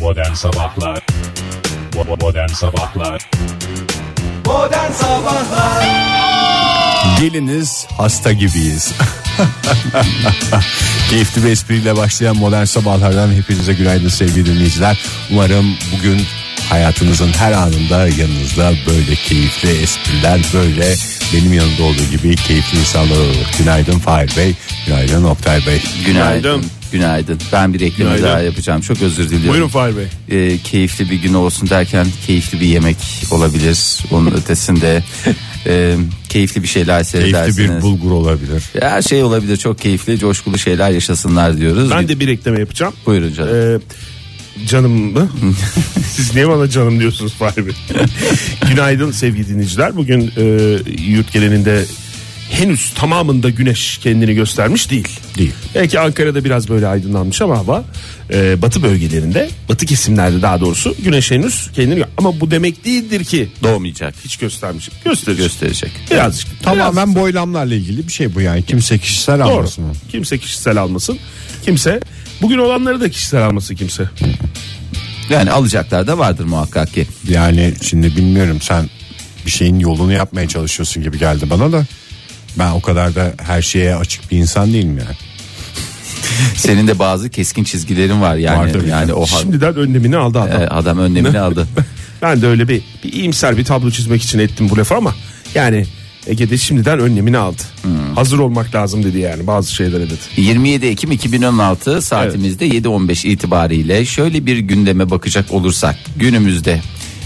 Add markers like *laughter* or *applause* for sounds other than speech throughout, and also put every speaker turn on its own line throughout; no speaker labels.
Modern Sabahlar Bo- Modern Sabahlar
Modern Sabahlar
Geliniz hasta gibiyiz. *laughs* Keyifli bir espriyle başlayan modern sabahlardan hepinize günaydın sevgili dinleyiciler. Umarım bugün hayatınızın her anında yanınızda böyle keyifli espriler böyle benim yanımda olduğu gibi keyifli insanlar olur. Günaydın Fahir Bey, günaydın Oktay Bey.
Günaydın.
Günaydın.
Günaydın. Ben bir ekleme
Günaydın.
daha yapacağım. Çok özür diliyorum.
Buyurun Fahir Bey.
Ee, keyifli bir gün olsun derken keyifli bir yemek olabilir.
*laughs*
Onun ötesinde e, keyifli bir şeyler seyredersiniz.
Keyifli bir bulgur olabilir.
Her şey olabilir. Çok keyifli, coşkulu şeyler yaşasınlar diyoruz.
Ben de bir ekleme yapacağım.
Buyurun canım.
Ee,
*laughs*
canım mı? Siz niye bana canım diyorsunuz Fahir Bey? Günaydın sevgili dinleyiciler. Bugün e, yurt genelinde henüz tamamında güneş kendini göstermiş değil.
Değil.
Belki Ankara'da biraz böyle aydınlanmış ama hava e, batı bölgelerinde, batı kesimlerde daha doğrusu güneş henüz kendini gö- ama bu demek değildir ki
Doğmayacak.
hiç göstermiş. Gösterecek.
Gösterecek.
Birazcık.
Tamamen boylamlarla ilgili bir şey bu yani kimse kişisel
Doğru.
almasın. onu.
Kimse kişisel almasın. Kimse bugün olanları da kişisel almasın kimse.
Yani alacaklar da vardır muhakkak ki.
Yani şimdi bilmiyorum sen bir şeyin yolunu yapmaya çalışıyorsun gibi geldi bana da. Ben o kadar da her şeye açık bir insan değilim yani.
Senin de bazı keskin çizgilerin var yani.
Vardır.
yani o ha-
Şimdiden önlemini aldı adam.
e, adam önlemini aldı.
*laughs* Ben de öyle bir, bir iyimser bir tablo çizmek için ettim bu lafı ama yani Ege'de şimdiden önlemini aldı.
Hmm.
Hazır olmak lazım dedi yani bazı şeylere dedi.
27 Ekim 2016 saatimizde 7.15 itibariyle şöyle bir gündeme bakacak olursak günümüzde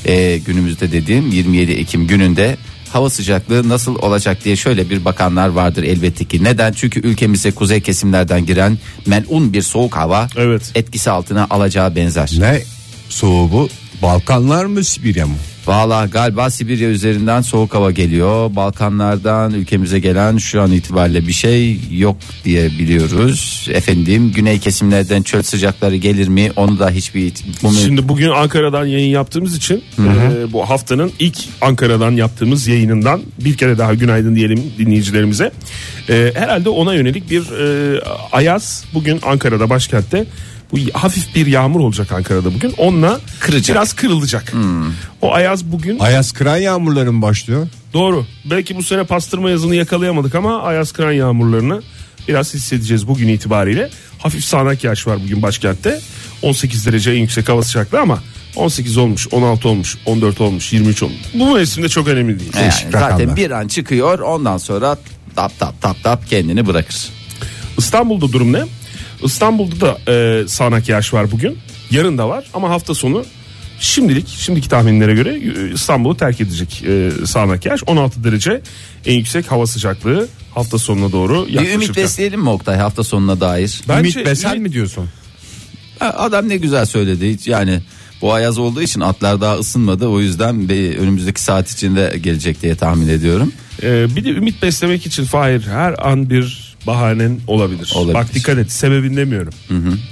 e, günümüzde dediğim 27 Ekim gününde hava sıcaklığı nasıl olacak diye şöyle bir bakanlar vardır elbette ki. Neden? Çünkü ülkemize kuzey kesimlerden giren melun bir soğuk hava
Evet.
etkisi altına alacağı benzer.
Ne soğuğu bu? Balkanlar mı Sibirya mı?
Valla galiba Sibirya üzerinden soğuk hava geliyor. Balkanlardan ülkemize gelen şu an itibariyle bir şey yok diye biliyoruz. Efendim güney kesimlerden çöl sıcakları gelir mi? Onu da hiçbir... Bu mü-
Şimdi bugün Ankara'dan yayın yaptığımız için e, bu haftanın ilk Ankara'dan yaptığımız yayınından bir kere daha günaydın diyelim dinleyicilerimize. E, herhalde ona yönelik bir e, ayaz bugün Ankara'da başkentte bu hafif bir yağmur olacak Ankara'da bugün. Onunla
Kıracak. Hmm.
biraz kırılacak. O ayaz bugün
Ayaz kıran yağmurların başlıyor?
doğru. Belki bu sene pastırma yazını yakalayamadık ama ayaz kıran yağmurlarını biraz hissedeceğiz bugün itibariyle. Hafif sağanak yağış var bugün başkentte. 18 derece en yüksek hava sıcaklığı ama 18 olmuş, 16 olmuş, 14 olmuş, 23 olmuş. Bu mevsimde çok önemli değil.
Yani
değişik
zaten
rakamlar.
bir an çıkıyor ondan sonra tap tap tap tap kendini bırakır.
İstanbul'da durum ne? İstanbul'da da e, sağanak yağış var bugün. Yarın da var ama hafta sonu şimdilik şimdiki tahminlere göre e, İstanbul'u terk edecek e, sağanak yağış. 16 derece en yüksek hava sıcaklığı hafta sonuna doğru
Bir ümit
yaklaşacak.
besleyelim mi Oktay hafta sonuna dair?
Bence-
Ümit Besen
Ümit-
mi diyorsun?
Ha, Adam ne güzel söyledi Hiç yani... Bu ayaz olduğu için atlar daha ısınmadı. O yüzden bir önümüzdeki saat içinde gelecek diye tahmin ediyorum.
Ee, bir de ümit beslemek için Fahir her an bir bahanen olabilir.
Olabilir.
Bak dikkat et sebebini demiyorum.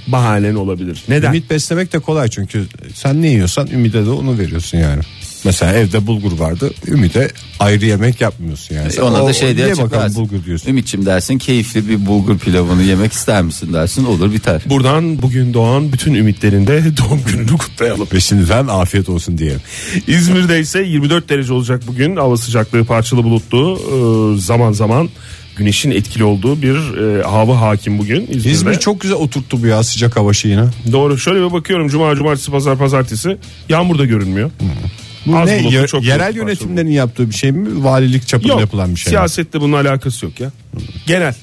Bahanen olabilir. Neden?
Ümit beslemek de kolay çünkü sen ne yiyorsan Ümit'e de onu veriyorsun yani. Mesela evde bulgur vardı. Ümit'e ayrı yemek yapmıyorsun yani. Sen
Ona
o-
da şey diye
niye bakalım
açıklarsın.
bulgur diyorsun.
Ümitçim dersin keyifli bir bulgur pilavını yemek ister misin dersin olur biter.
Buradan bugün doğan bütün ümitlerinde *laughs* doğum gününü kutlayalım.
Ve şimdiden afiyet olsun diyelim.
İzmir'de ise 24 derece olacak bugün. Hava sıcaklığı parçalı bulutlu. Ee, zaman zaman güneşin etkili olduğu bir e, hava hakim bugün İzmir'de.
İzmir çok güzel oturttu bu ya sıcak hava şeyine.
Doğru. Şöyle bir bakıyorum cuma, cumartesi, pazar, pazartesi. Yağmur da görünmüyor.
Bu
Az
ne?
bulutlu,
Ye-
çok
yerel
bulutlu,
yönetimlerin yaptığı bir şey mi? Valilik çapında
Yok.
yapılan bir şey mi?
Siyasette bunun alakası yok ya. Genel.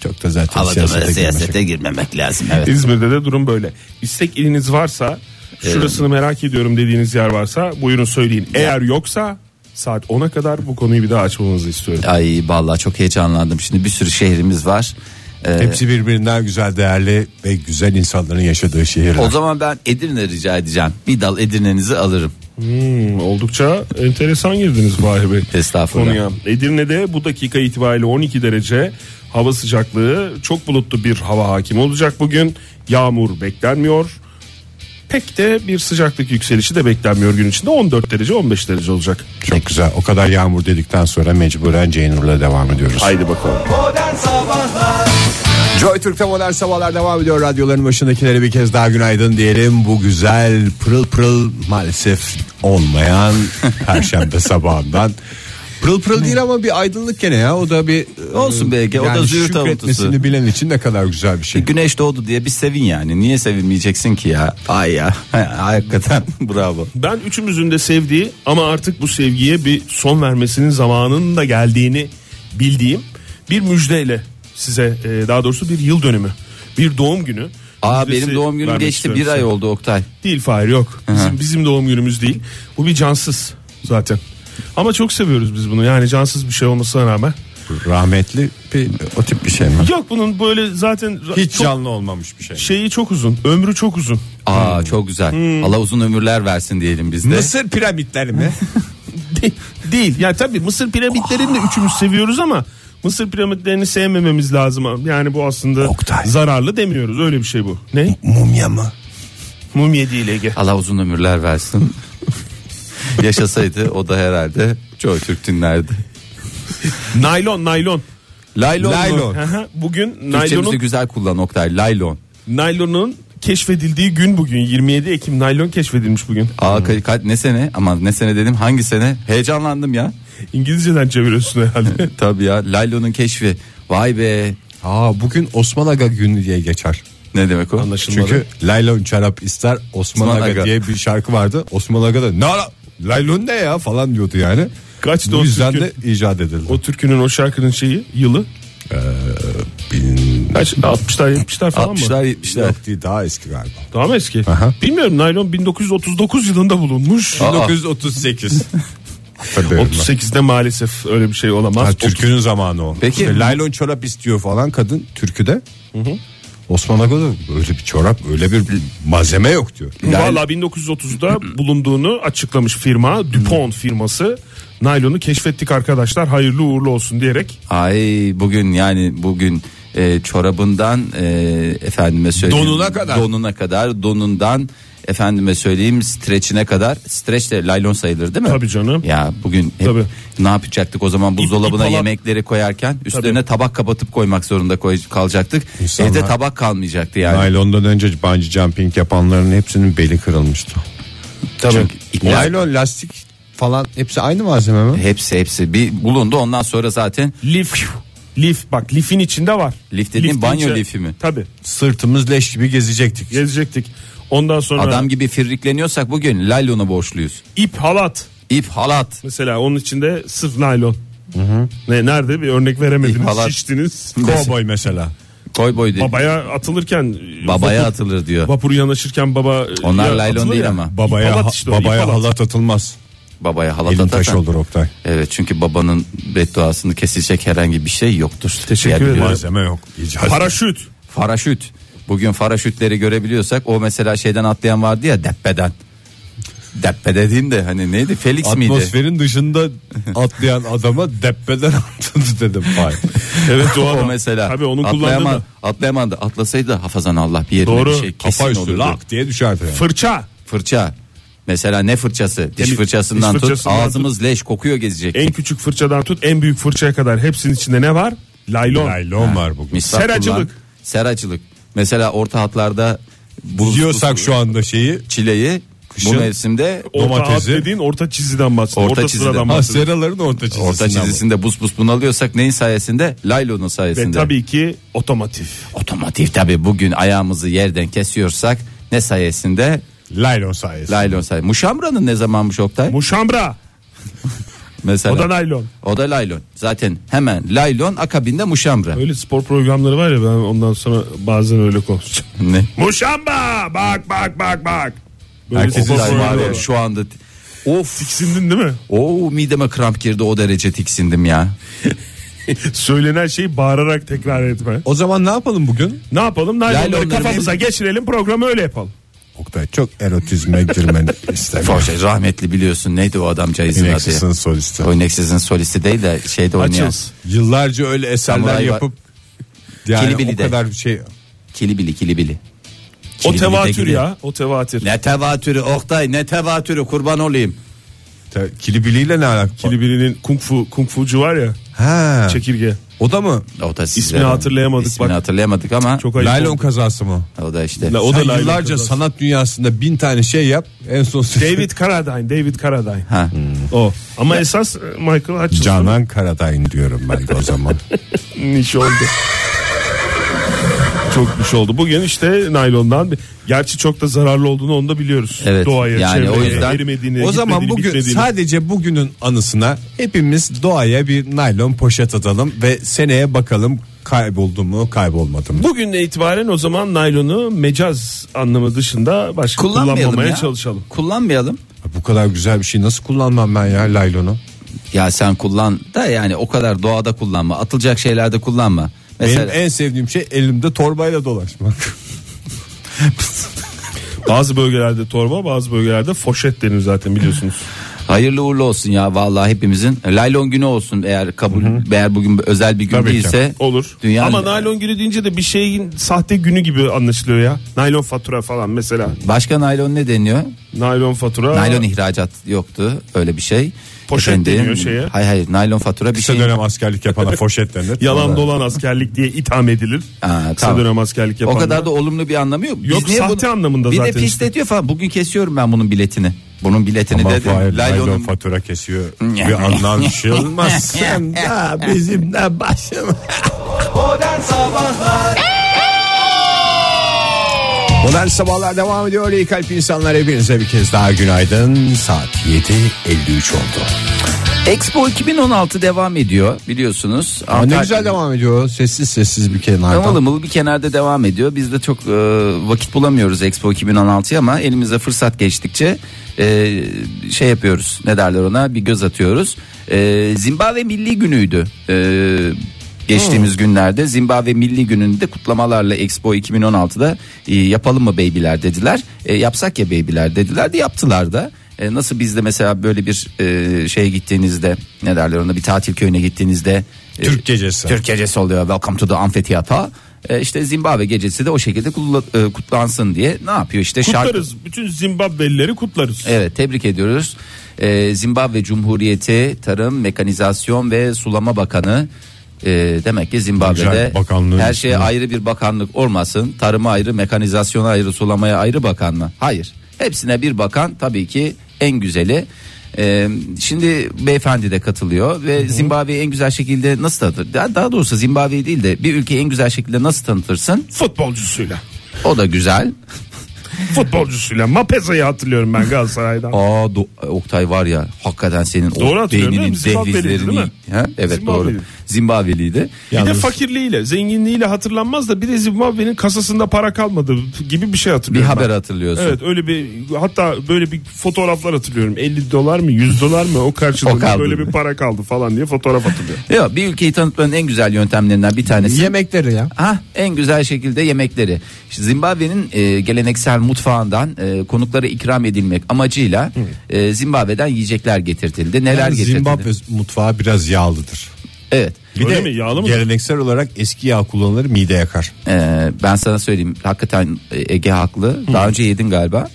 Çok da zaten
Havada
siyasete
siyasete,
girmeyecek.
girmemek lazım. Evet.
İzmir'de de durum böyle. İstek iliniz varsa, şurasını merak ediyorum dediğiniz yer varsa buyurun söyleyin. Eğer yoksa saat 10'a kadar bu konuyu bir daha açmamızı istiyorum.
Ay vallahi çok heyecanlandım. Şimdi bir sürü şehrimiz var. Ee,
Hepsi birbirinden güzel değerli ve güzel insanların yaşadığı şehirler.
o zaman ben Edirne rica edeceğim. Bir dal Edirne'nizi alırım. E,
Hmm, oldukça enteresan girdiniz Fahri Bey.
Estağfurullah.
Konuya. Edirne'de bu dakika itibariyle 12 derece hava sıcaklığı çok bulutlu bir hava hakim olacak bugün. Yağmur beklenmiyor. Pek de bir sıcaklık yükselişi de beklenmiyor gün içinde 14 derece 15 derece olacak.
Çok güzel. O kadar yağmur dedikten sonra mecburen Ceynur'la devam ediyoruz.
Haydi bakalım.
Modern Sabahlar
Joy Türk'te modern sabahlar devam ediyor. Radyoların başındakilere bir kez daha günaydın diyelim. Bu güzel pırıl pırıl maalesef
*laughs*
olmayan perşembe sabahından. Pırıl pırıl değil ama bir aydınlık gene ya. O da bir
Olsun
e,
belki, o
yani
da züğürt
şükretmesini
avuntusu.
bilen için ne kadar güzel bir şey.
Güneş doğdu diye bir sevin yani. Niye sevinmeyeceksin ki ya? Ay ya. *laughs* Hakikaten *laughs* bravo.
Ben üçümüzün de sevdiği ama artık bu sevgiye bir son vermesinin zamanının da geldiğini bildiğim bir müjdeyle size e, daha doğrusu bir yıl dönümü, bir doğum günü.
Aa
müjdesi
benim doğum günüm
vermek
geçti
istiyorum
bir
size.
ay oldu Oktay.
Değil Fahir yok. Bizim, bizim doğum günümüz değil. Bu bir cansız zaten. Ama çok seviyoruz biz bunu. Yani cansız bir şey olmasına rağmen.
Rahmetli bir, o tip bir şey mi?
Yok bunun böyle zaten
Hiç
çok,
canlı olmamış bir şey.
şeyi çok uzun. Ömrü çok uzun.
Aa
Hmm.
çok güzel. Allah uzun ömürler versin diyelim biz de.
Mısır piramitleri mi?
De- *laughs* değil. Yani tabii Mısır piramitlerini de üçümüz seviyoruz ama Mısır piramitlerini sevmememiz lazım. Yani bu aslında
Oktay.
zararlı demiyoruz. Öyle bir şey bu. Ne?
Mumya mı?
Mumya değil Ege.
Allah uzun ömürler versin. *laughs* Yaşasaydı o da herhalde Joy Türk dinlerdi.
Naylon, naylon.
Laylon. mu?
Laylon.
Aha, bugün
Türkçemizi
naylonun
güzel kullan Oktay. Laylon.
naylonun keşfedildiği gün bugün 27 Ekim naylon keşfedilmiş bugün.
Aa ka- ka- ne sene? Aman ne sene dedim hangi sene? Heyecanlandım ya.
İngilizceden
*laughs*
çeviriyorsun herhalde.
Tabii ya Laylon'un keşfi. Vay be.
Aa bugün Osman Aga günü diye geçer.
Ne demek o?
Anlaşılmadı.
Çünkü Laylon çarap ister Osman,
Osman
Aga,
Aga.
diye bir şarkı vardı. Osman Aga da ne ara Laylon ne ya falan diyordu yani.
Kaçtı
Bu
o
yüzden
türkü?
de icat edildi.
O türkünün o şarkının şeyi yılı
bin...
kaç 60'lar 70'ler falan mı?
60'lar 70'ler.
Yok değil, daha eski galiba.
Daha mı eski?
Aha.
Bilmiyorum naylon 1939 yılında bulunmuş.
*laughs*
Aa.
1938. Hatırlıyorum ben.
38'de maalesef öyle bir şey olamaz.
Ha, türkünün zamanı o.
Peki-
İşte laylon çorap istiyor falan kadın türküde. Osman Aga da öyle bir çorap öyle bir malzeme yok diyor.
Valla 1930'da bulunduğunu açıklamış firma DuPont
Hmm.
firması. Naylonu keşfettik arkadaşlar hayırlı uğurlu olsun diyerek
Ay bugün yani bugün e, çorabından e, efendime söyleyeyim.
Donuna kadar.
Donuna kadar donundan efendime söyleyeyim streçine kadar. Streç de laylon sayılır değil mi?
Tabii canım.
Ya bugün hep
Tabii.
ne yapacaktık o zaman buzdolabına
ip falan.
yemekleri koyarken üstlerine tabak kapatıp koymak zorunda koy, kalacaktık.
İnsanlar-
Evde tabak kalmayacaktı yani.
Naylondan önce bungee jumping yapanların hepsinin beli kırılmıştı.
Çünkü ikna-
Naylon lastik falan hepsi aynı malzeme mi?
Hepsi hepsi bir bulundu ondan sonra zaten
lif lif bak lifin içinde var.
Lif dediğin
Lifin
banyo
içi-
lifi mi?
Tabii
Sırtımız leş gibi gezecektik.
gezecektik. Ondan sonra
adam gibi firrikleniyorsak bugün laylona borçluyuz.
ip halat
İp halat.
mesela onun içinde sırf naylon. Ne nerede bir örnek veremediniz
İp halat. *laughs*
şiştiniz.
Cowboy mesela.
Koy boy diyor.
Babaya atılırken
Babaya
vapur-
atılır diyor.
Vapur yanaşırken baba
Onlar
ya
laylon
atılır
değil
ya.
ama.
İp
Babaya
halat işte o, ip
babaya
halat.
halat atılmaz.
Babaya halat
Elin
atarsan.
taş olur Oktay.
Evet çünkü babanın bedduasını kesilecek herhangi bir şey yoktur.
Teşekkür
Diye biliyorum.
ederim.
Malzeme yok. İcat.
Paraşüt.
Paraşüt. Bugün paraşütleri görebiliyorsak o mesela şeyden atlayan vardı ya deppeden. Deppe dediğim de hani neydi Felix miydi?
Atmosferin dışında atlayan adama deppeden *laughs* atladı dedim. Hayır.
Evet *laughs* doğru.
O
ama.
mesela
Tabii onun kullandığı
atlayamadı,
da.
atlayamadı. Atlasaydı hafazan Allah bir yerine
Doğru.
bir şey kesin
Kafa üstü
olurdu.
lak diye düşerdi. yani.
Fırça.
Fırça. Mesela ne fırçası? Diş
Diş
fırçasından tut.
fırçasından
Ağzımız leş kokuyor gezecek.
En küçük fırçadan tut en büyük fırçaya kadar hepsinin içinde ne var? Laylon.
Laylon var bugün.
Misvak
Seracılık.
kullan. Seracılık. Mesela orta hatlarda buz-
Yiyorsak şu anda şeyi
çileyi
Kışın-
bu mevsimde
Orta
Domatesi.
alt dediğin orta çiziden bahsediyor.
Orta
Orta,
çizgiden.
sıradan
ha,
bahsediyor.
seraların orta çizgisinden.
orta çizgisinde buz buz bunalıyorsak neyin sayesinde? Laylon'un
Ve
sayesinde.
E, tabii ki otomotiv.
Otomotiv tabii bugün ayağımızı yerden kesiyorsak ne sayesinde?
bu. Laylon sayesinde.
Laylon sayesinde. Muşamra'nın ne zamanmış Oktay?
Muşambra.
Mesela.
O da naylon.
O da laylon. Zaten hemen laylon akabinde muşamra.
Öyle spor programları var ya ben ondan sonra bazen öyle konuşacağım. *laughs*
Ne?
Muşamba bak bak bak bak. Böyle
Herkesin
spor
laylon
programları
var.
var.
şu anda of
Tiksindin değil mi? *laughs*
o mideme kramp girdi o derece tiksindim ya.
Söylenen şeyi bağırarak tekrar etme.
O zaman ne yapalım bugün?
Ne yapalım? Naylonları
Laylonları
kafamıza geçirelim programı öyle yapalım.
Oktay çok erotizme *laughs* girmeni istemiyorum.
Forşa Şey, rahmetli biliyorsun neydi o adamcağızın
Inexus'un
adı?
solisti.
Oynex'in solisti değil de şeyde oynayan.
Açız.
Yıllarca öyle eserler
Samuray var.
yapıp yani o
Kilibili de.
kadar bir şey
Kilibili kilibili.
O
Kilibili de
tevatür
gidiyor.
ya. O tevatür.
Ne tevatürü Oktay ne tevatürü kurban olayım.
Te- kilibiliyle ne alakası?
Kili birinin kung fu kung fucu var ya.
Ha.
Çekirge.
O da mı?
O da size
İsmini
de-
hatırlayamadık
İsmini
bak.
hatırlayamadık ama
Çok ayıp
Laylon
oldu.
kazası mı?
o da işte.
La- O da
Sen
laylon
yıllarca
kazası.
sanat dünyasında bin tane şey yap. En son
David
*laughs*
Carradine, David Carradine.
Ha.
O. Ama esas e, Michael Hutchinson'ın
Canan Karatay'ın diyorum ben de o zaman.
iş oldu. çok bir şey oldu. Bugün işte naylondan bir- gerçi çok da zararlı olduğunu onu da biliyoruz.
Evet,
Doğaya,
yani
çevreye,
o yüzden-
erimediğini,
o zaman
gitmediğini,
bugün
bitmediğini.
sadece bugünün anısına hepimiz doğaya bir naylon poşet atalım ve seneye bakalım kayboldu mu kaybolmadı mı?
Bugünden itibaren o zaman naylonu mecaz anlamı dışında başka
Kullanmayalım
kullanmamaya
ya.
çalışalım.
Kullanmayalım.
Bu kadar güzel bir şey nasıl kullanmam ben ya laylonu?
Ya sen kullan da yani o kadar doğada kullanma. Atılacak şeylerde kullanma. Mesela
Benim en sevdiğim şey elimde torbayla dolaşmak.
Bazı bölgelerde torba, bazı bölgelerde foşet denir zaten biliyorsunuz.
hayırlı uğurlu olsun ya vallahi hepimizin. Laylon günü olsun eğer kabul eğer bugün özel bir gün
Tabii ki.
değilse.
Olur.
Dünya
Ama naylon günü deyince de bir şeyin sahte günü gibi anlaşılıyor ya. Naylon fatura falan mesela.
Başka naylon ne deniyor?
Naylon fatura.
Naylon ihracat yoktu öyle bir şey.
Poşet deniyor şeye.
Hayır hayır naylon fatura bir
Kısa
şey.
dönem askerlik yapana foşet denir.
Yalan dolan askerlik diye itham edilir.
Ha,
Kısa
tamam.
dönem askerlik
O
yapanlar.
kadar da olumlu bir anlamı yok. Biz
Yok,
niye
sahte anlamında
bir
zaten
de pisletiyor falan. Bugün kesiyorum ben bunun biletini. Bunun biletini
Ama
de
Fahir, laylon,
laylonun
fatura kesiyor. bir anlaşılmaz. Sen daha bizimle başım.
Modern Sabahlar
Modern Sabahlar devam ediyor. İyi kalp insanlar hepinize bir kez daha günaydın. Saat 7.53 oldu.
Expo 2016 devam ediyor biliyorsunuz.
Aa, ne
Antalya-
güzel devam ediyor. Sessiz sessiz bir
Havalı
kenardan.
mılı bir kenarda devam ediyor. Biz de çok e, vakit bulamıyoruz Expo 2016'ya ama elimize fırsat geçtikçe e, şey yapıyoruz. Ne derler ona? Bir göz atıyoruz. E, Zimbabwe Milli Günü'ydü. E, geçtiğimiz günlerde Zimbabwe Milli Günü'nde kutlamalarla Expo 2016'da e, yapalım mı beybiler dediler. E, yapsak ya beybiler dediler de yaptılar da. E, nasıl bizde mesela böyle bir e, şeye gittiğinizde ne derler ona bir tatil köyüne gittiğinizde e,
Türk gecesi.
Türk gecesi oluyor. Welcome to the Amfiteyata. E, işte Zimbabwe gecesi de o şekilde kutla- e, kutlansın diye ne yapıyor işte şarkı.
Kutlarız. Bütün Zimbabwelileri kutlarız.
Evet tebrik ediyoruz. E, Zimbabwe Cumhuriyeti Tarım Mekanizasyon ve Sulama Bakanı e, demek ki Zimbabwe'de
Güzel, bakanlığın
her şeye
ismi.
ayrı bir bakanlık olmasın. Tarıma ayrı, mekanizasyona ayrı, sulamaya ayrı bakan mı? Hayır. Hepsine bir bakan tabii ki en güzeli. E, şimdi beyefendi de katılıyor ve Zimbabwe'yi en güzel şekilde nasıl tanıtır? Daha, daha doğrusu Zimbabwe değil de bir ülkeyi en güzel şekilde nasıl tanıtırsın?
Futbolcusuyla.
O da güzel.
Futbolcusuyla. Mapeza'yı hatırlıyorum ben Galatasaray'dan.
Aa Do- Oktay var ya hakikaten senin
Doğru
o
hatırlıyorum
beyninin
değil mi? Zimbabweliydi
dehlizlerini.
değil mi?
Ha? Evet
Zimbabweli.
doğru. Zimbabweliydi.
Bir de
Yalnız-
fakirliğiyle, zenginliğiyle hatırlanmaz da bir de Zimbabwe'nin kasasında para kalmadı gibi bir şey
Bir
hatırlıyorum. ben.
haber hatırlıyorsun.
Evet öyle bir hatta böyle bir fotoğraflar hatırlıyorum. 50 dolar mı 100 dolar mı o
O
karşılığında
kaldı.
böyle bir para kaldı falan diye fotoğraf hatırlıyorum.
Yok, bir ülkeyi tanıtmanın en güzel yöntemlerinden bir tanesi.
Yemekleri ya.
Ha en güzel şekilde yemekleri. İşte Zimbabwe'nin e, geleneksel mutfağından e, konuklara ikram edilmek amacıyla e, Zimbabwe'den yiyecekler getirtildi. Neler
Yani
getirildi?
Zimbabwe mutfağı biraz yağlıdır.
Evet.
Bir
Öyle
de
mi? Yağlı mı?
geleneksel olarak eski yağ kullanılır mide yakar.
Ee, ben sana söyleyeyim hakikaten e, Ege haklı. Daha önce yedin galiba.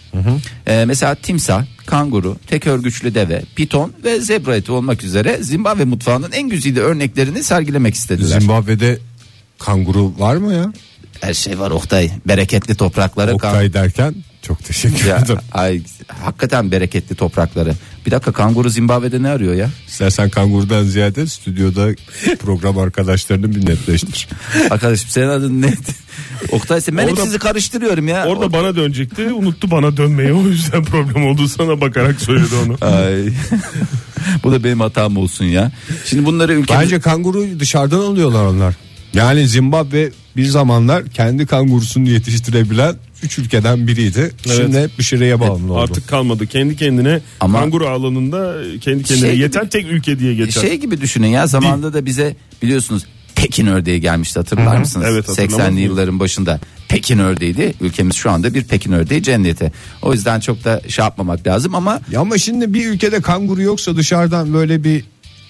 Ee, mesela timsah, kanguru, tek örgüçlü deve, piton ve zebra eti olmak üzere Zimbabwe mutfağının en güzide örneklerini sergilemek istediler.
Zimbabwe'de kanguru var mı ya?
Her şey var Oktay. Bereketli toprakları.
Oktay derken çok teşekkür *laughs*
Ya,
ederim.
ay, hakikaten bereketli toprakları. Bir dakika kanguru Zimbabwe'de ne arıyor ya?
İstersen kangurudan ziyade stüdyoda program arkadaşlarını bir
*laughs*
netleştir.
Arkadaşım senin adın ne? *laughs* Oktay sen ben hep
Orada-
sizi karıştırıyorum ya.
Orada bana dönecekti unuttu bana dönmeyi o yüzden problem oldu sana bakarak söyledi
*laughs*
onu.
Ay. Bu da benim hatam olsun ya. Şimdi bunları ülkemiz...
Bence kanguruyu dışarıdan alıyorlar onlar. Yani Zimbabwe bir zamanlar kendi kangurusunu yetiştirebilen üç ülkeden biriydi. Şimdi hep bir şireye bağımlı oldu.
E, Artık kalmadı kendi kendine
Ama-
kanguru alanında e, kendi kendine
Şey-
yeten tek ülke diye geçer.
şey gibi düşünün ya zamanında da bize biliyorsunuz Pekin ördeği gelmişti hatırlar mısınız?
Evet, hatırlamaz
80'li
mıyım?
yılların başında Pekin ördeğiydi. Ülkemiz şu anda bir Pekin ördeği cenneti. O yüzden çok da şey yapmamak lazım ama
Ya ama şimdi bir ülkede kanguru yoksa dışarıdan böyle bir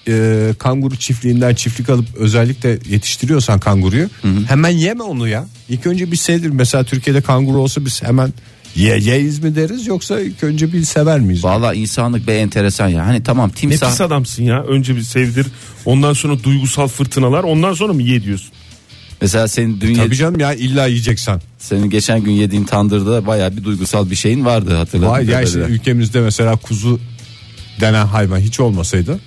e, kanguru çiftliğinden çiftlik alıp özellikle yetiştiriyorsan kanguruyu hemen yeme onu ya. İlk önce bir sevdir. Mesela Türkiye'de kanguru olsa biz hemen yiyeceğiz mi deriz yoksa ilk önce bir sever miyiz?
Valla insanlık be enteresan ya. Hani tamam
Ne
timsah.
pis adamsın ya. Önce bir sevdir. Ondan sonra duygusal fırtınalar. Ondan sonra mı ye diyorsun?
Mesela senin dün
Tabii
yedi-
canım ya illa yiyeceksen.
senin geçen gün yediğin tandırda bayağı bir duygusal bir şeyin vardı hatırladım.
Vay ya işte
kadarıyla.
ülkemizde mesela kuzu denen hayvan hiç olmasaydı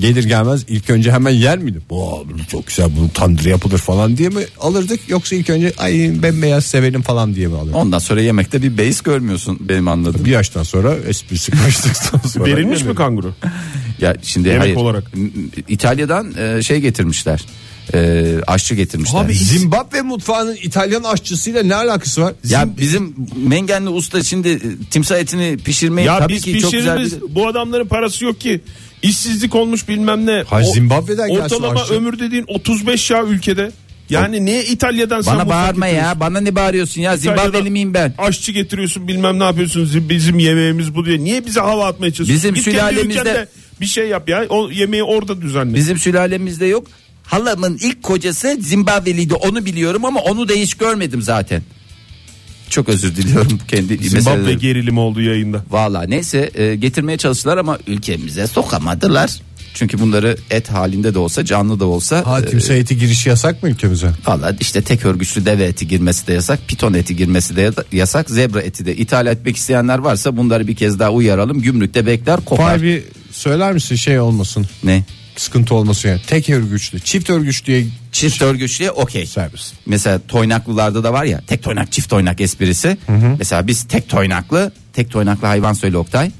gelir gelmez ilk önce hemen yer miydi? Bu çok güzel bunu tandır yapılır falan diye mi alırdık yoksa ilk önce ay bembeyaz sevelim falan diye mi alırdık?
Ondan sonra yemekte bir base görmüyorsun benim anladığım.
Bir yaştan sonra esprisi kaçtıktan sonra.
Verilmiş mi kanguru?
*laughs* E, Ya şimdi
Yemek
hayır.
olarak.
M- İtalya'dan e, şey getirmişler. E, aşçı getirmişler.
Abi Zimbabwe mutfağının İtalyan aşçısıyla ne alakası var?
ya
Zim-
bizim Mengenli usta şimdi e, timsah etini pişirmeyi
ya
tabii
biz
ki çok güzel bir...
pişiririz. Bu adamların parası yok ki. İşsizlik olmuş bilmem ne.
Hayır,
O-
Zimbabwe'den gelsin
Ortalama
aşçı.
ömür dediğin 35 ya ülkede. Yani niye İtalya'dan sen
Bana
mutfak
bağırma
getiriyorsun?
ya. Bana ne bağırıyorsun ya? Zimbabweli
İtalya'dan
miyim ben?
Aşçı getiriyorsun bilmem ne yapıyorsun Zim- bizim yemeğimiz bu diye. Niye bize hava atmaya çalışıyorsun?
Bizim
kendi
sülalemizde-
ülkende bir şey yap ya. O yemeği orada düzenle.
Bizim sülalemizde yok. Halamın ilk kocası Zimbabveliydi. Onu biliyorum ama onu da hiç görmedim zaten. Çok özür diliyorum kendi
Zimbabwe
meselelerim.
gerilimi oldu yayında.
Valla neyse e, getirmeye çalıştılar ama ülkemize sokamadılar. Çünkü bunları et halinde de olsa canlı da olsa
Ha
e,
timsah eti girişi yasak mı ülkemize?
Valla işte tek örgüçlü deve eti girmesi de yasak, piton eti girmesi de yasak, zebra eti de ithal etmek isteyenler varsa bunları bir kez daha uyaralım. Gümrükte bekler kopar.
Fahir bir söyler misin şey olmasın
Ne?
sıkıntı olmasın yani tek örgüçlü çift örgüçlüye
Çift örgüçlüye okey.
servis.
Mesela toynaklılarda da var ya tek toynak çift toynak esprisi. Mesela biz tek toynaklı, tek toynaklı hayvan söyle Oktay.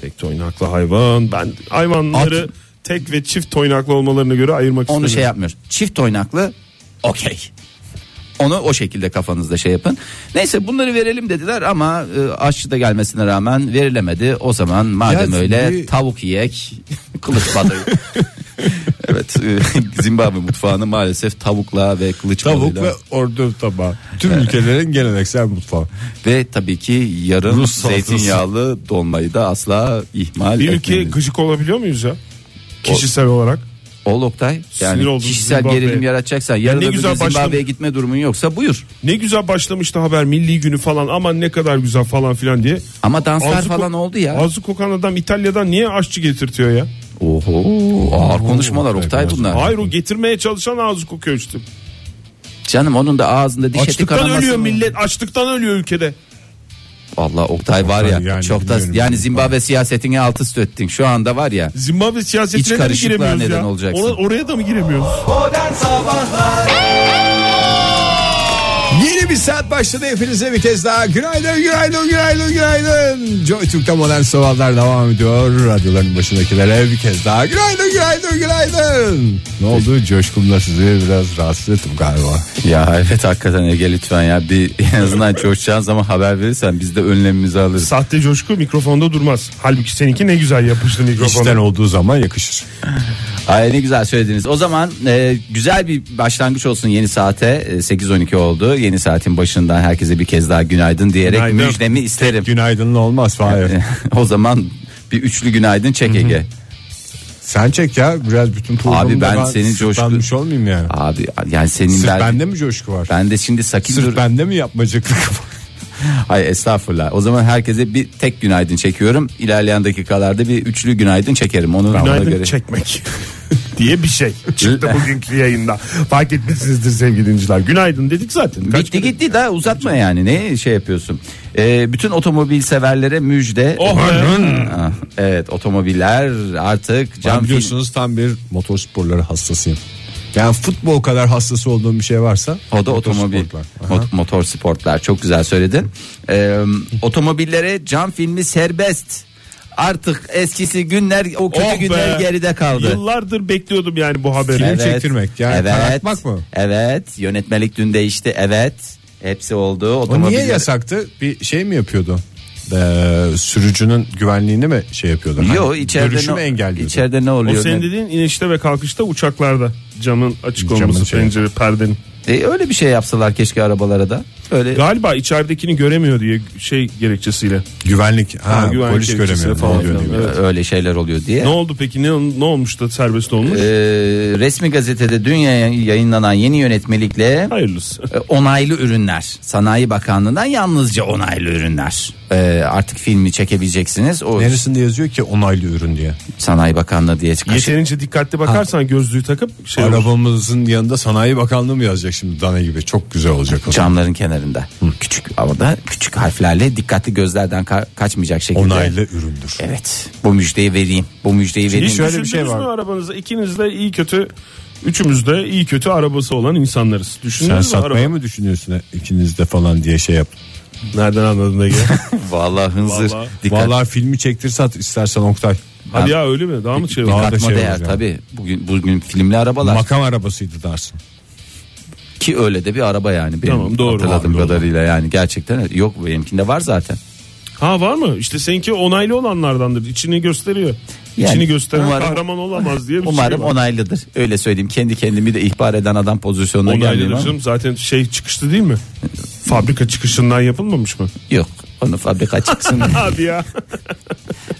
Tek toynaklı hayvan. Ben hayvanları
At.
tek ve çift toynaklı olmalarına göre ayırmak
Onu şey
istemiyorum.
yapmıyoruz. Çift oynaklı okey. Onu o şekilde kafanızda şey yapın. Neyse bunları verelim dediler ama e, aşçı da gelmesine rağmen verilemedi. O zaman madem
Ya,
öyle
bir-
tavuk yiyek *laughs* kılıç
*laughs*
balığı. evet e, Zimbabwe mutfağını maalesef tavukla ve kılıç
Tavuk ve
balığıyla
ordu tabağı. Tüm ülkelerin geleneksel mutfağı.
ve tabii ki yarım
Rus salatası.
zeytinyağlı dolmayı da asla ihmal
Bir ülkeye
etmemiz.
gıcık olabiliyor muyuz ya? Kişisel olarak.
Ol Oktay
Sinir
yani
oldum
kişisel
Zimbabwe.
gerilim yaratacaksan yarın
ne
öbür gün
güzel başladım.
Zimbabwe'ye gitme durumun yoksa buyur.
Ne güzel başlamıştı haber milli günü falan aman ne kadar güzel falan filan diye.
Ama danslar
Ağzı ko-
falan oldu ya.
Ağzı kokan adam İtalya'dan niye aşçı getirtiyor ya?
Oho ağır konuşmalar Oktay
biraz.
bunlar.
Hayır o getirmeye çalışan ağzı kokuyor işte.
Canım onun da ağzında diş eti
Açlıktan
kanaması.
ölüyor
mı?
millet açlıktan ölüyor ülkede.
Vallahi Oktay var ya
Oktay yani
çok da
bilmiyorum.
yani Zimbabwe siyasetini alt üst ettin. Şu anda var ya
Zimbabwe
İç
siyasetine de mi
karışıklığa
giremiyoruz
neden
ya?
olacaksın.
Ona- oraya da mı giremiyoruz?
Modern Sabahlar
Yeni bir saat başladı hepinize bir kez daha günaydın günaydın günaydın günaydın. Joy Türk'te modern sabahlar devam ediyor. Radyoların başındakilere bir kez daha günaydın günaydın günaydın. Ne oldu coşkumla sizi biraz rahatsız ettim galiba.
*laughs* ya evet hakikaten Ege lütfen ya bir en azından coşacağın zaman haber verirsen biz de önlemimizi alırız.
Sahte coşku mikrofonda durmaz. Halbuki seninki ne güzel yapıştı mikrofona.
İşten olduğu zaman yakışır.
Ay ne güzel söylediniz. O zaman e, güzel bir başlangıç olsun yeni saate. E, 8.12 oldu. Yeni saatin başından herkese bir kez daha günaydın diyerek
Günaydın.
müjdemi isterim.
Günaydınlı olmaz Fahir.
*laughs* o zaman bir üçlü günaydın çek Ege.
Sen çek ya biraz bütün programı
Abi ben
ben,
senin coşku-
sırtlanmış olmayayım yani.
Abi yani senin
Sırf
belki-
bende mi coşku var?
Ben de şimdi sakin
Sırf
dur.
bende mi yapmacıklık var?
Ay estağfurullah. O zaman herkese bir tek günaydın çekiyorum. İlerleyen dakikalarda bir üçlü günaydın çekerim. Onu ona
Günaydın
göre.
çekmek *laughs* diye
*laughs*
bir şey çıktı bugünkü yayında. Fark etmişsinizdir sevgili dinleyiciler. Günaydın dedik zaten. Kaç
Bitti
kere-
gitti daha uzatma yani. Ne şey yapıyorsun? Ee, bütün otomobil severlere müjde.
Oh be.
Ah, Evet otomobiller artık
Ben
cam film
biliyorsunuz tam bir motorsporları hastasıyım. Yani futbol kadar hastası olduğum bir şey varsa
O da otomobil.
motorsporlar. Aha.
Mot- motor sportlar. Çok güzel söyledin. Ee, otomobillere cam filmi serbest. Artık eskisi günler o kötü
Oh be.
günler geride kaldı.
Yıllardır bekliyordum yani bu haberi.
Film çektirmek, yani karartmak mı?
Evet. Yönetmelik dün değişti. Evet. Hepsi oldu.
O
Otomobiller.
niye yasaktı? Bir şey mi yapıyordu? Ee, sürücünün güvenliğini mi şey yapıyordu?
Yok
Hani
içeride
Görüşü mü
ne,
engelliyordu?
içeride ne
O
oluyor?
senin
Ne-
dediğin inişte ve kalkışta uçaklarda camın açık
Camın
olması
şey.
pencere perdenin.
E, öyle bir şey yapsalar keşke arabalara da.
E-
Öyle
Galiba içeridekini göremiyor diye şey gerekçesiyle.
Güvenlik. Ha,
Ha, güvenlik
polis
gerekçesi
göremiyor
falan
falan diyor.
filan.
diyor.
Evet.
öyle şeyler oluyor
E-
diye.
Ne oldu peki? Ne, ne olmuş da serbest olmuş?
E, resmi gazetede dün yayın- yayınlanan yeni yönetmelikle
*laughs*
Hayırlısı.
E, onaylı ürünler. Sanayi Bakanlığı'ndan yalnızca onaylı ürünler. E, artık filmi çekebileceksiniz. O
Neresinde yazıyor ki onaylı ürün diye.
Sanayi Bakanlığı diye kaşı-
şey-
Yeterince dikkatli bakarsan gözlüğü takıp şey olur.
Arabamızın yanında Sanayi Bakanlığı mı yazacak şimdi dana gibi? Çok güzel olacak. o.
camların kenarında. Küçük orada küçük harflerle dikkatli gözlerden ka- kaçmayacak şekilde.
Onaylı üründür.
Evet. Bu müjdeyi vereyim. Bu müjdeyi vereyim.
Hiç
şöyle bir şey
düşündünüz
var.
mü arabanıza ikiniz de iyi kötü üçümüz de iyi kötü arabası olan insanlarız.
Sen
Düşündünüz mü araba?
satmayı mı düşünüyorsun ikiniz de falan diye şey yap.
Nereden
*laughs*
anladın Ege?
Vallahi hınzır.
Vallahi.
Dikkat.
Vallahi filmi çektir sat istersen Oktay.
Hadi ya öyle mi? Daha mı şey
Daha
var?
da
Katma
şey
değer
olacak.
tabii. Bugün bugün filmli arabalar
Makam arabasıydı dersin.
ki öyle de bir araba yani benim
Tamam, doğru.
hatırladığım
Abi, doğru.
kadarıyla yani gerçekten yok benimkinde var zaten.
Ha var mı? İşte seninki onaylı olanlardandır. İçini gösteriyor.
Yani
İçini gösteren
umarım-
kahraman olamaz diye bir
Umarım
şey var.
onaylıdır. Öyle söyleyeyim. Kendi kendimi de ihbar eden adam pozisyonuna gelmeyeyim
Onaylıdır
ama.
canım. Zaten şey çıkıştı değil mi? Fabrika çıkışından yapılmamış mı?
Yok. Onu fabrika çıksın.
*laughs* Abi ya.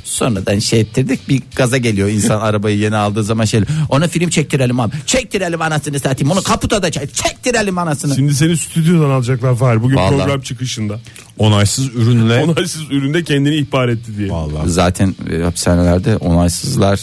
Sonradan şey ettirdik bir gaza geliyor insan arabayı yeni aldığı zaman şey ona film çektirelim abi çektirelim anasını satayım onu kaputa da çek çektirelim anasını.
Şimdi seni stüdyodan alacaklar Fahir. Bugün
Vallahi.
program çıkışında.
Onaysız ürünle.
Onaysız üründe kendini ihbar etti diye.
Vallahi.
Zaten e, hapishanelerde onaysızlar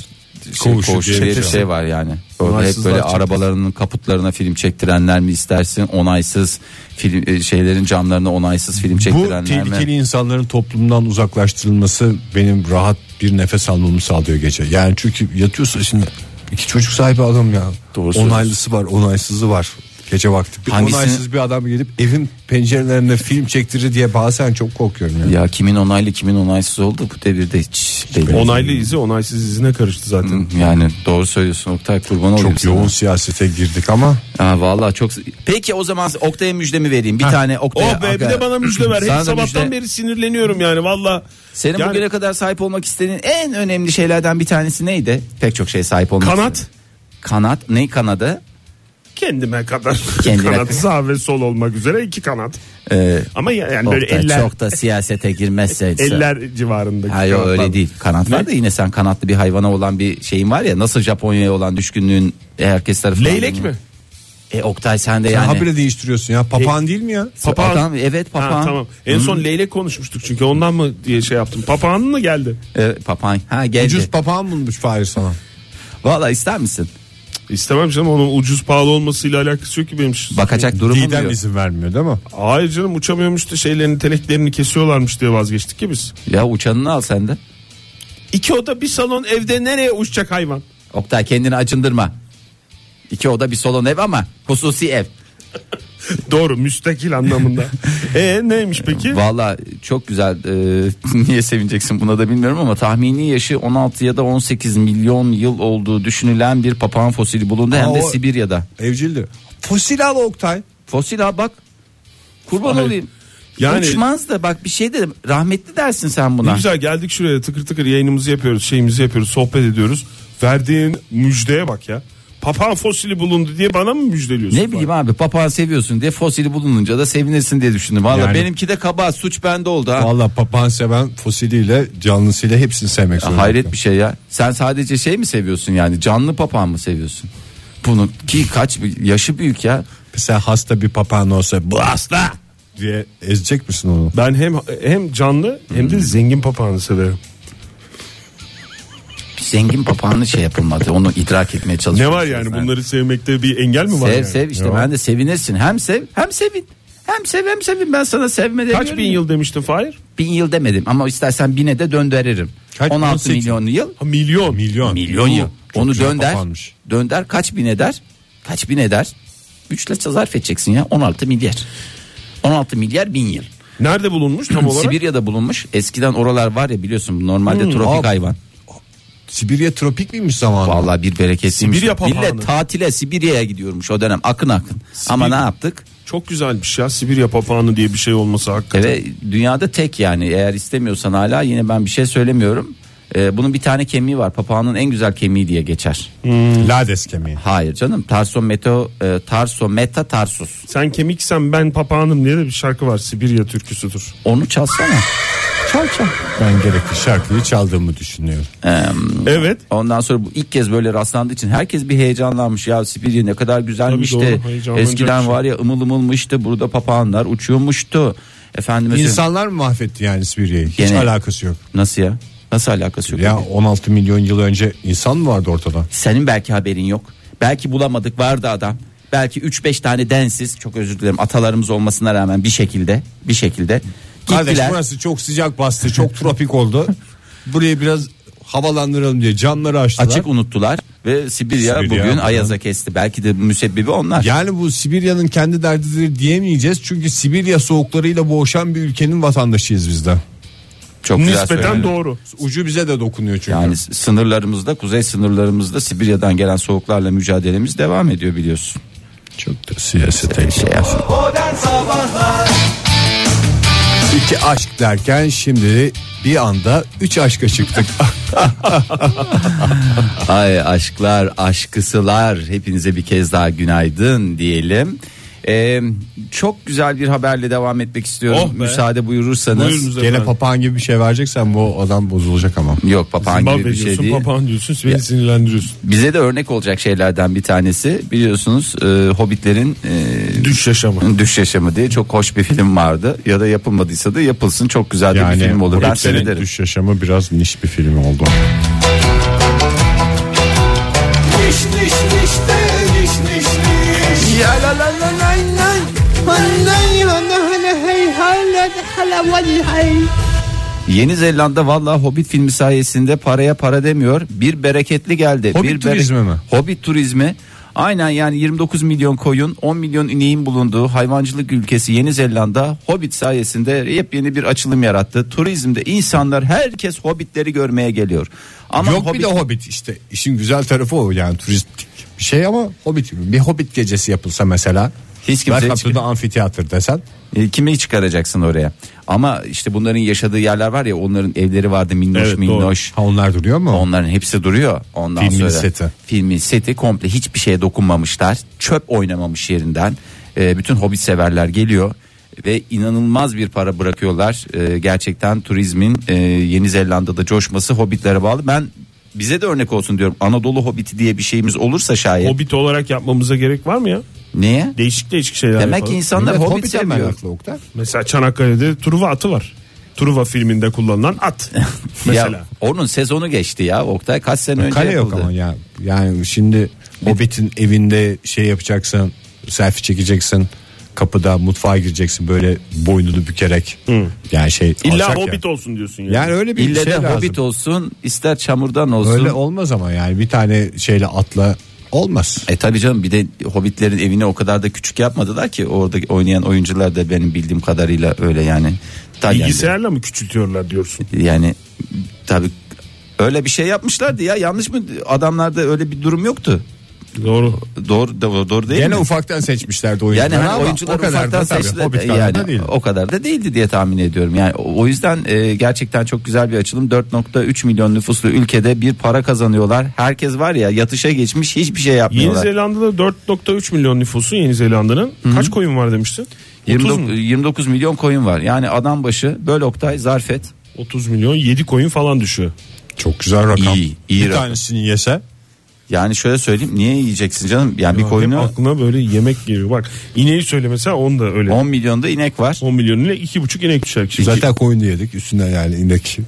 şey,
Koğuşu
koğuşu
diye
diye
bir
bir
şey
şey var yani. Orada hep
Onaysızlar
böyle
çekti.
arabalarının kaputlarına film çektirenler mi istersin? Onaysız film e, şeylerin camlarına onaysız film
Bu
çektirenler mi?
tehlikeli insanların toplumdan uzaklaştırılması benim rahat bir nefes almamı sağlıyor gece. Yani çünkü yatıyorsa şimdi iki çocuk sahibi adam ya.
Doğru söylüyorsun.
Onaylısı var, onaysızı var. Gece vakti. Bir
Hangisini-
onaysız bir adam gelip evin pencerelerinde film çektirir diye bazen çok korkuyorum ya.
Ya kimin onaylı kimin onaysız oldu bu devirde hiç belli.
Onaylı izi onaysız izine karıştı zaten.
yani doğru söylüyorsun Oktay kurban olayım
Çok
sana.
yoğun siyasete girdik ama
Ha vallahi çok. Peki o zaman Oktay'a müjdemi vereyim. Bir tane Oktay'a.
Oh be bir
Aga-
de bana
*laughs*
müjde ver.
Sana
Hep
da
sabahtan
müjde.
beri sinirleniyorum yani valla.
Senin
Yani-
bugüne kadar sahip olmak istediğin en önemli şeylerden bir tanesi neydi? Pek çok şey sahip olmak.
Kanat.
istedin. Kanat. Ne kanadı?
Kendime kadar.
Kendine-
kanat sağ ve sol olmak üzere iki kanat.
Ee,
Ama ya- yani böyle
Oktay
eller
çok da siyasete girmezseydi.
*laughs* eller civarında.
Hayır
kanatlar.
öyle değil. Kanat var da yine sen kanatlı bir hayvana olan bir şeyin var ya. Nasıl Japonya'ya olan düşkünlüğün herkes tarafından.
Leylek mi?
E Oktay sen de
yani, E,
yani.
habire değiştiriyorsun ya. Papağan değil mi ya?
Papağan.
Adam, evet
Ha,
papağan.
tamam. En son leylek konuşmuştuk çünkü ondan mı diye şey yaptım. Papağanın mı geldi?
E, papağan. Ha geldi.
Ucuz papağan bulmuş Fahir sana.
Valla ister misin?
İstemem canım onun ucuz pahalı olmasıyla alakası yok ki benim.
Bakacak durumum
Didem
yok.
izin vermiyor değil mi?
Hayır canım uçamıyormuş da şeylerini teleklerini kesiyorlarmış diye vazgeçtik ya biz.
Ya uçanını al sen de.
İki oda bir salon evde nereye uçacak hayvan?
Oktay kendini acındırma. İki oda bir salon ev ama hususi ev.
Doğru
*laughs*
müstakil anlamında. e neymiş peki?
Valla çok güzel. e, *laughs* niye sevineceksin buna da bilmiyorum ama tahmini yaşı 16 ya da 18 milyon yıl olduğu düşünülen bir papağan fosili bulundu hem
Aa,
de
o-
Sibirya'da.
Evcildir. Fosil al Oktay.
Fosil ha bak. Kurban
Ay,
olayım.
yani-
Uçmaz da bak bir şey dedim. Rahmetli dersin sen
Ne
buna.
güzel geldik şuraya tıkır tıkır yayınımızı yapıyoruz şeyimizi yapıyoruz sohbet ediyoruz. Verdiğin müjdeye bak ya. Papağan fosili bulundu diye bana mı müjdeliyorsun?
Ne bileyim abi papağan seviyorsun diye fosili bulununca da sevinirsin diye düşündüm. Valla
Yani-
benimki de kaba suç bende oldu ha.
Valla papağan seven fosiliyle canlısıyla hepsini sevmek zorunda.
Hayret bir şey ya. Sen sadece şey mi seviyorsun yani canlı papağan mı seviyorsun? Bunun ki kaç yaşı büyük ya.
Mesela hasta bir papağan olsa bu hasta diye ezecek misin onu?
Ben hem hem canlı hem
Hmm.
de zengin papağanı severim.
Zengin papağanı şey yapılmadı. Onu idrak etmeye
Ne
çalışıyorum.
var yani bunları sevmekte bir engel mi var?
Sev
yani?
sev işte
Ya.
ben de sevinirsin. Hem sev hem sevin. Hem sev hem sevin ben sana sevme demiyorum.
Kaç bin yıl demiştin Fahir?
Bin yıl demedim ama istersen bine de döndürürüm.
Kaç?
16
18.
milyon yıl.
Ha, milyon.
Milyon.
Milyon yıl.
Çok
Onu
güzel
dönder.
papağanmış.
Dönder kaç bin eder? Kaç bin eder? Üçle zarf edeceksin ya 16 milyar. 16 milyar bin yıl.
Nerede
*clears throat*
bulunmuş tam olarak? Hmm,
Sibirya'da bulunmuş. Eskiden oralar var ya biliyorsun normalde tropik
abi.
hayvan.
Sibirya tropik miymiş zamanında?
Vallahi bir bereketliymiş.
Sibirya papağanı.
Millet tatile Sibirya'ya gidiyormuş o dönem akın akın. Ama ne yaptık?
Çok güzelmiş ya Sibirya papağanı diye bir şey olması hakikaten.
Ve dünyada tek yani eğer istemiyorsan hala yine ben bir şey söylemiyorum. E, bunun bir tane kemiği var. Papağanın en güzel kemiği diye geçer.
Hmm. Lades kemiği.
Hayır canım. Tarso meto e, tarso meta tarsus.
Sen kemiksen ben papağanım diye de bir şarkı var Sibirya türküsüdür.
Onu çalsana. Çal çal.
Ben gerekli şarkıyı çaldığımı düşünüyorum.
Hmm.
Evet.
Ondan sonra bu ilk kez böyle rastlandığı için herkes bir heyecanlanmış. Ya Sibirya ne kadar güzelmiş
Tabii
de.
doğru, heyecanlanacak
Eskiden
şey.
var ya ımıl ımılmıştı. Burada papağanlar uçuyormuştu. Efendim
İnsanlar mı mahvetti yani Sibirya'yı? Hiç
Gene-
alakası yok.
nasıl ya? Nasıl alakası yok?
Ya 16 milyon yıl önce insan mı vardı ortada?
Senin belki haberin yok. Belki bulamadık vardı adam. Belki 3-5 tane densiz çok özür dilerim atalarımız olmasına rağmen bir şekilde bir şekilde
Kardeş
gittiler.
burası çok sıcak bastı, çok tropik
*laughs*
oldu. Burayı biraz havalandıralım diye camları açtılar.
Açık unuttular ve Sibirya,
Sibirya
bugün
bundan.
ayaza kesti. Belki de müsebbibi onlar.
Yani bu Sibirya'nın kendi derdidir diyemeyeceğiz. Çünkü Sibirya soğuklarıyla boğuşan bir ülkenin vatandaşıyız biz de.
Çok güzel
Nispeten
söyledin.
doğru.
Ucu bize de dokunuyor çünkü.
Yani s- sınırlarımızda, kuzey sınırlarımızda Sibirya'dan gelen soğuklarla mücadelemiz devam ediyor biliyorsun.
çok da siyasete
Şey yap-
Modern Sabahlar
İki aşk derken şimdi bir anda üç aşka
*laughs*
çıktık.
Ay aşklar, aşkısılar hepinize bir kez daha günaydın diyelim. Ee, çok güzel bir haberle devam etmek istiyorum.
Oh be.
Müsaade buyurursanız.
Buyurunuz
Gene
efendim.
papağan gibi bir şey vereceksen bu adam bozulacak ama.
Yok papağan
Zimbabwe
gibi bir şey
diyorsun,
değil.
papağan diyorsun, beni sinirlendiriyorsun.
Bize de örnek olacak şeylerden bir tanesi biliyorsunuz e, Hobbitlerin e,
Düş yaşamı.
Düş Yaşamı diye çok hoş bir film vardı. Ya da yapılmadıysa da yapılsın çok güzel de bir film olur. Ben
Hobbitlerin
seyrederim.
Düş Yaşamı biraz niş bir film oldu.
Niş niş niş de niş niş niş
Ya la la la la. Yeni Zelanda vallahi Hobbit filmi sayesinde paraya para demiyor. Bir bereketli geldi.
Hobbit
bir
turizmi mi?
Hobbit turizmi. Aynen yani 29 milyon koyun 10 milyon ineğin bulunduğu hayvancılık ülkesi Yeni Zelanda Hobbit sayesinde yepyeni bir açılım yarattı. Turizmde insanlar herkes Hobbitleri görmeye geliyor. Ama
Yok bir de Hobbit işte işin güzel tarafı o yani turistik bir şey ama Hobbit gibi. Bir Hobbit gecesi yapılsa mesela.
Hiç kimse
Belkapı'da
çıkıyor.
amfiteyatr desen.
E, kimi çıkaracaksın oraya? Ama işte bunların yaşadığı yerler var ya onların evleri vardı minnoş
Evet, doğru.
minnoş.
Ha onlar duruyor mu?
Onların hepsi duruyor. Ondan
Filmin
sonra
seti.
filmin seti komple hiçbir şeye dokunmamışlar. Çöp oynamamış yerinden. E, bütün hobbit severler geliyor ve inanılmaz bir para bırakıyorlar. E, gerçekten turizmin e, Yeni Zelanda'da coşması hobbitlere bağlı. Ben bize de örnek olsun diyorum. Anadolu hobbiti diye bir şeyimiz olursa şayet.
Hobbit olarak yapmamıza gerek var mı ya?
Neye?
Değişik değişik şeyler
Demek ki
yapalım.
insanlar
Millet
hobbit
Hobbit'e
seviyor.
meraklı Oktay.
Mesela Çanakkale'de Truva atı var. Truva filminde kullanılan at.
Ya
Mesela.
onun sezonu geçti ya Oktay kaç sene önce
Kale
yapıldı.
yok ama ya. Yani şimdi Hobbit'in evinde şey yapacaksın. Selfie çekeceksin. Kapıda mutfağa gireceksin böyle boynunu bükerek. Yani şey
İlla
alçak ya.
Hobbit olsun diyorsun yani.
Yani öyle bir
İlle
şey
de
lazım.
hobbit olsun ister çamurdan olsun.
Öyle olmaz ama yani bir tane şeyle atla olmaz.
E tabi canım bir de hobbitlerin evini o kadar da küçük yapmadılar ki orada oynayan oyuncular da benim bildiğim kadarıyla öyle yani. İtalyan
Bilgisayarla mı küçültüyorlar diyorsun?
bir- Yani tabi öyle bir şey yapmışlardı ya yanlış mı adamlarda öyle bir durum yoktu.
Doğru.
Doğru doğru, doğru değil
Gene
mi?
ufaktan seçmişlerdi oyuncuları
Yani hani
ama
oyuncular
o kadar da
ufaktan
tabii
seçtiler.
Hobbit kadar
yani
da değil.
o kadar da değildi diye tahmin ediyorum. Yani o o yüzden e, gerçekten çok güzel bir açılım. 4.3 milyon nüfuslu ülkede bir para kazanıyorlar. Herkes var ya yatışa geçmiş hiçbir şey
Yeni
yapmıyorlar.
Zelanda'da 4.3 milyon nüfusu Yeni Zelanda'nın. Kaç koyun var demiştin? 30
29,
mu?
29 milyon koyun var. Yani adam başı böl Oktay zarf et.
30 milyon 7 koyun falan düşüyor.
Çok güzel rakam.
İyi, iyi
bir
rakam.
tanesini yese
Yani şöyle söyleyeyim niye yiyeceksin canım? Yani bir
Bak, hep
koyunu
aklına böyle yemek geliyor. Bak ineği söyle mesela onu da öyle. 10,
10 milyonda inek var.
milyon ile 2,5 inek düşer kişi.
zaten koyunu yedik üstüne yani inek.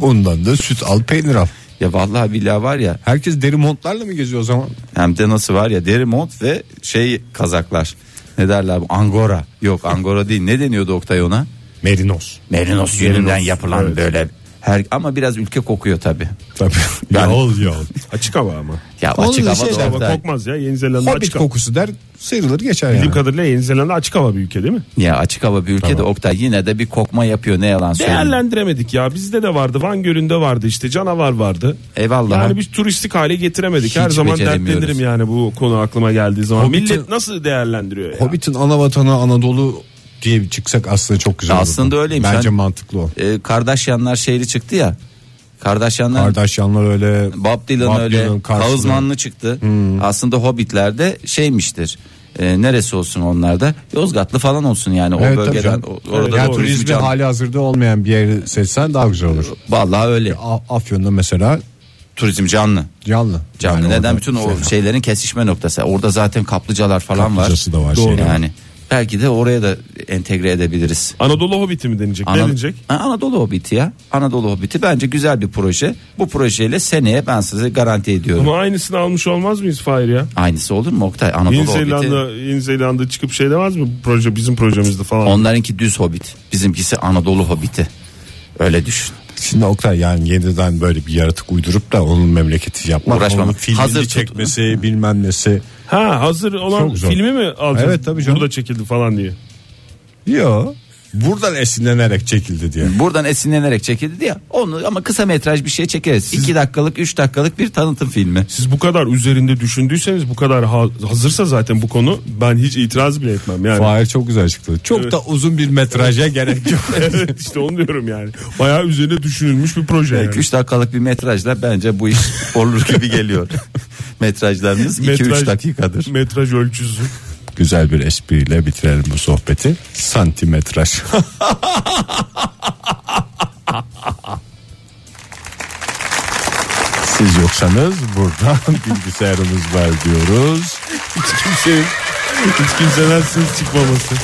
Ondan da süt al peynir al.
Ya vallahi billahi var ya
Herkes deri montlarla mı geziyor o zaman?
hem de nasıl var ya deri mont ve şey kazaklar. Ne derler bu? Angora. Yok angora değil. Ne deniyordu Oktay ona?
Merinos.
Merinos yününden yapılan böyle her ama biraz ülke kokuyor tabi.
*laughs*
Tabii.
Ben-
Yağıl yağıl.
Açık hava ama.
Ya
Onun
açık
da
hava
şey
da
de
Ama
orada.
kokmaz ya Yeni Zelanda
Hobbit
açık hava.
kokusu der sıyrılır geçer
Bildiğim
yani.
kadarıyla Yeni Zelanda açık hava bir ülke değil mi?
Ya açık hava bir ülkede Oktay yine de bir kokma yapıyor ne yalan söyleyeyim.
Değerlendiremedik ya. Bizde de vardı. Van Gölü'nde vardı işte. Canavar vardı.
Eyvallah.
Yani biz turistik hale getiremedik.
E, Hiç
Her zaman
beceremiyoruz.
dertlenirim yani bu konu aklıma geldiği zaman.
Hobbit'in-
Millet nasıl değerlendiriyor ya?
Hobbit'in ana vatanı Anadolu diye çıksak aslında çok güzel
Aslında
olurdu.
öyleymiş.
Bence
Sen-
mantıklı o.
Ee, Kardasyanlar şehri E, çıktı ya. Kardashianlar
Kardashianlar öyle.
Bob Dylan
Bob
öyle
Dylan karşılığı. Hmm.
Kağızmanlı çıktı. Aslında Hobbit'lerde şeymiştir. e, neresi olsun onlarda? Yozgatlı falan olsun yani
Evet,
o
tabii
bölgeden.
canım.
o- Orada
yani
doğru
turizmi
canlı.
hali hazırda olmayan bir yeri seçsen daha güzel olur.
Vallahi öyle.
A- Afyon'da mesela
Turizm canlı.
canlı.
Canlı.
Yani
Neden
orada
bütün o
şey-
şeylerin kesişme noktası. Orada zaten kaplıcalar falan
Kaplıcası
var.
da var
Doğru.
şeylerin.
Yani belki de oraya da entegre edebiliriz.
Anadolu Hobbit'i mi denecek? Ne
Ana-
denecek?
Ha, Anadolu Hobbit'i ya. Anadolu Hobbit'i bence güzel bir proje. Bu projeyle seneye ben size garanti ediyorum.
Ama aynısını almış olmaz mıyız Fahir ya?
Aynısı olur mu Oktay? Anadolu
Yeni
Hobbit'i.
Zelanda, Yeni Zelanda çıkıp şey demez mi? Bu proje bizim projemizdi falan.
Onlarınki düz Hobbit. Bizimkisi Anadolu Hobbit'i. Öyle düşün.
Şimdi Oktay yani yeniden böyle bir yaratık uydurup da onun memleketi yapmak.
Uğraşmamak.
Onun filmini
Hazır tut-
çekmesi bilmem nesi.
Ha hazır olan
Çok zor.
filmi mi alacağız?
Evet, tabii canım.
Burada çekildi falan diye.
Yo. Buradan esinlenerek çekildi diye.
Buradan esinlenerek çekildi ya. Onu ama kısa metraj bir şey çekeriz. 2 dakikalık 3 dakikalık bir tanıtım filmi.
Siz bu kadar üzerinde düşündüyseniz bu kadar ha- hazırsa zaten bu konu ben hiç itiraz bile etmem yani.
Fahir çok güzel çıktı. Çok da uzun bir metraja gerek yok.
evet işte onu diyorum yani. Bayağı üzerine düşünülmüş bir proje. yani.
3 dakikalık bir metrajla bence bu iş *laughs* olur gibi
*laughs*
geliyor. Metrajlarımız 2-3
Metraj-
dakikadır.
Metraj ölçüsü.
*laughs* güzel bir espriyle bitirelim bu sohbeti. Santimetraj. *laughs* Siz yoksanız buradan *laughs* bilgisayarımız var diyoruz.
Hiç kimsenin hiç kimseden sız çıkmaması.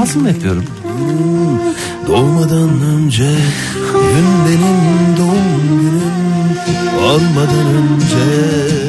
Ağzımla yapıyorum.
Doğmadan önce gün benim doğum günüm Olmadan önce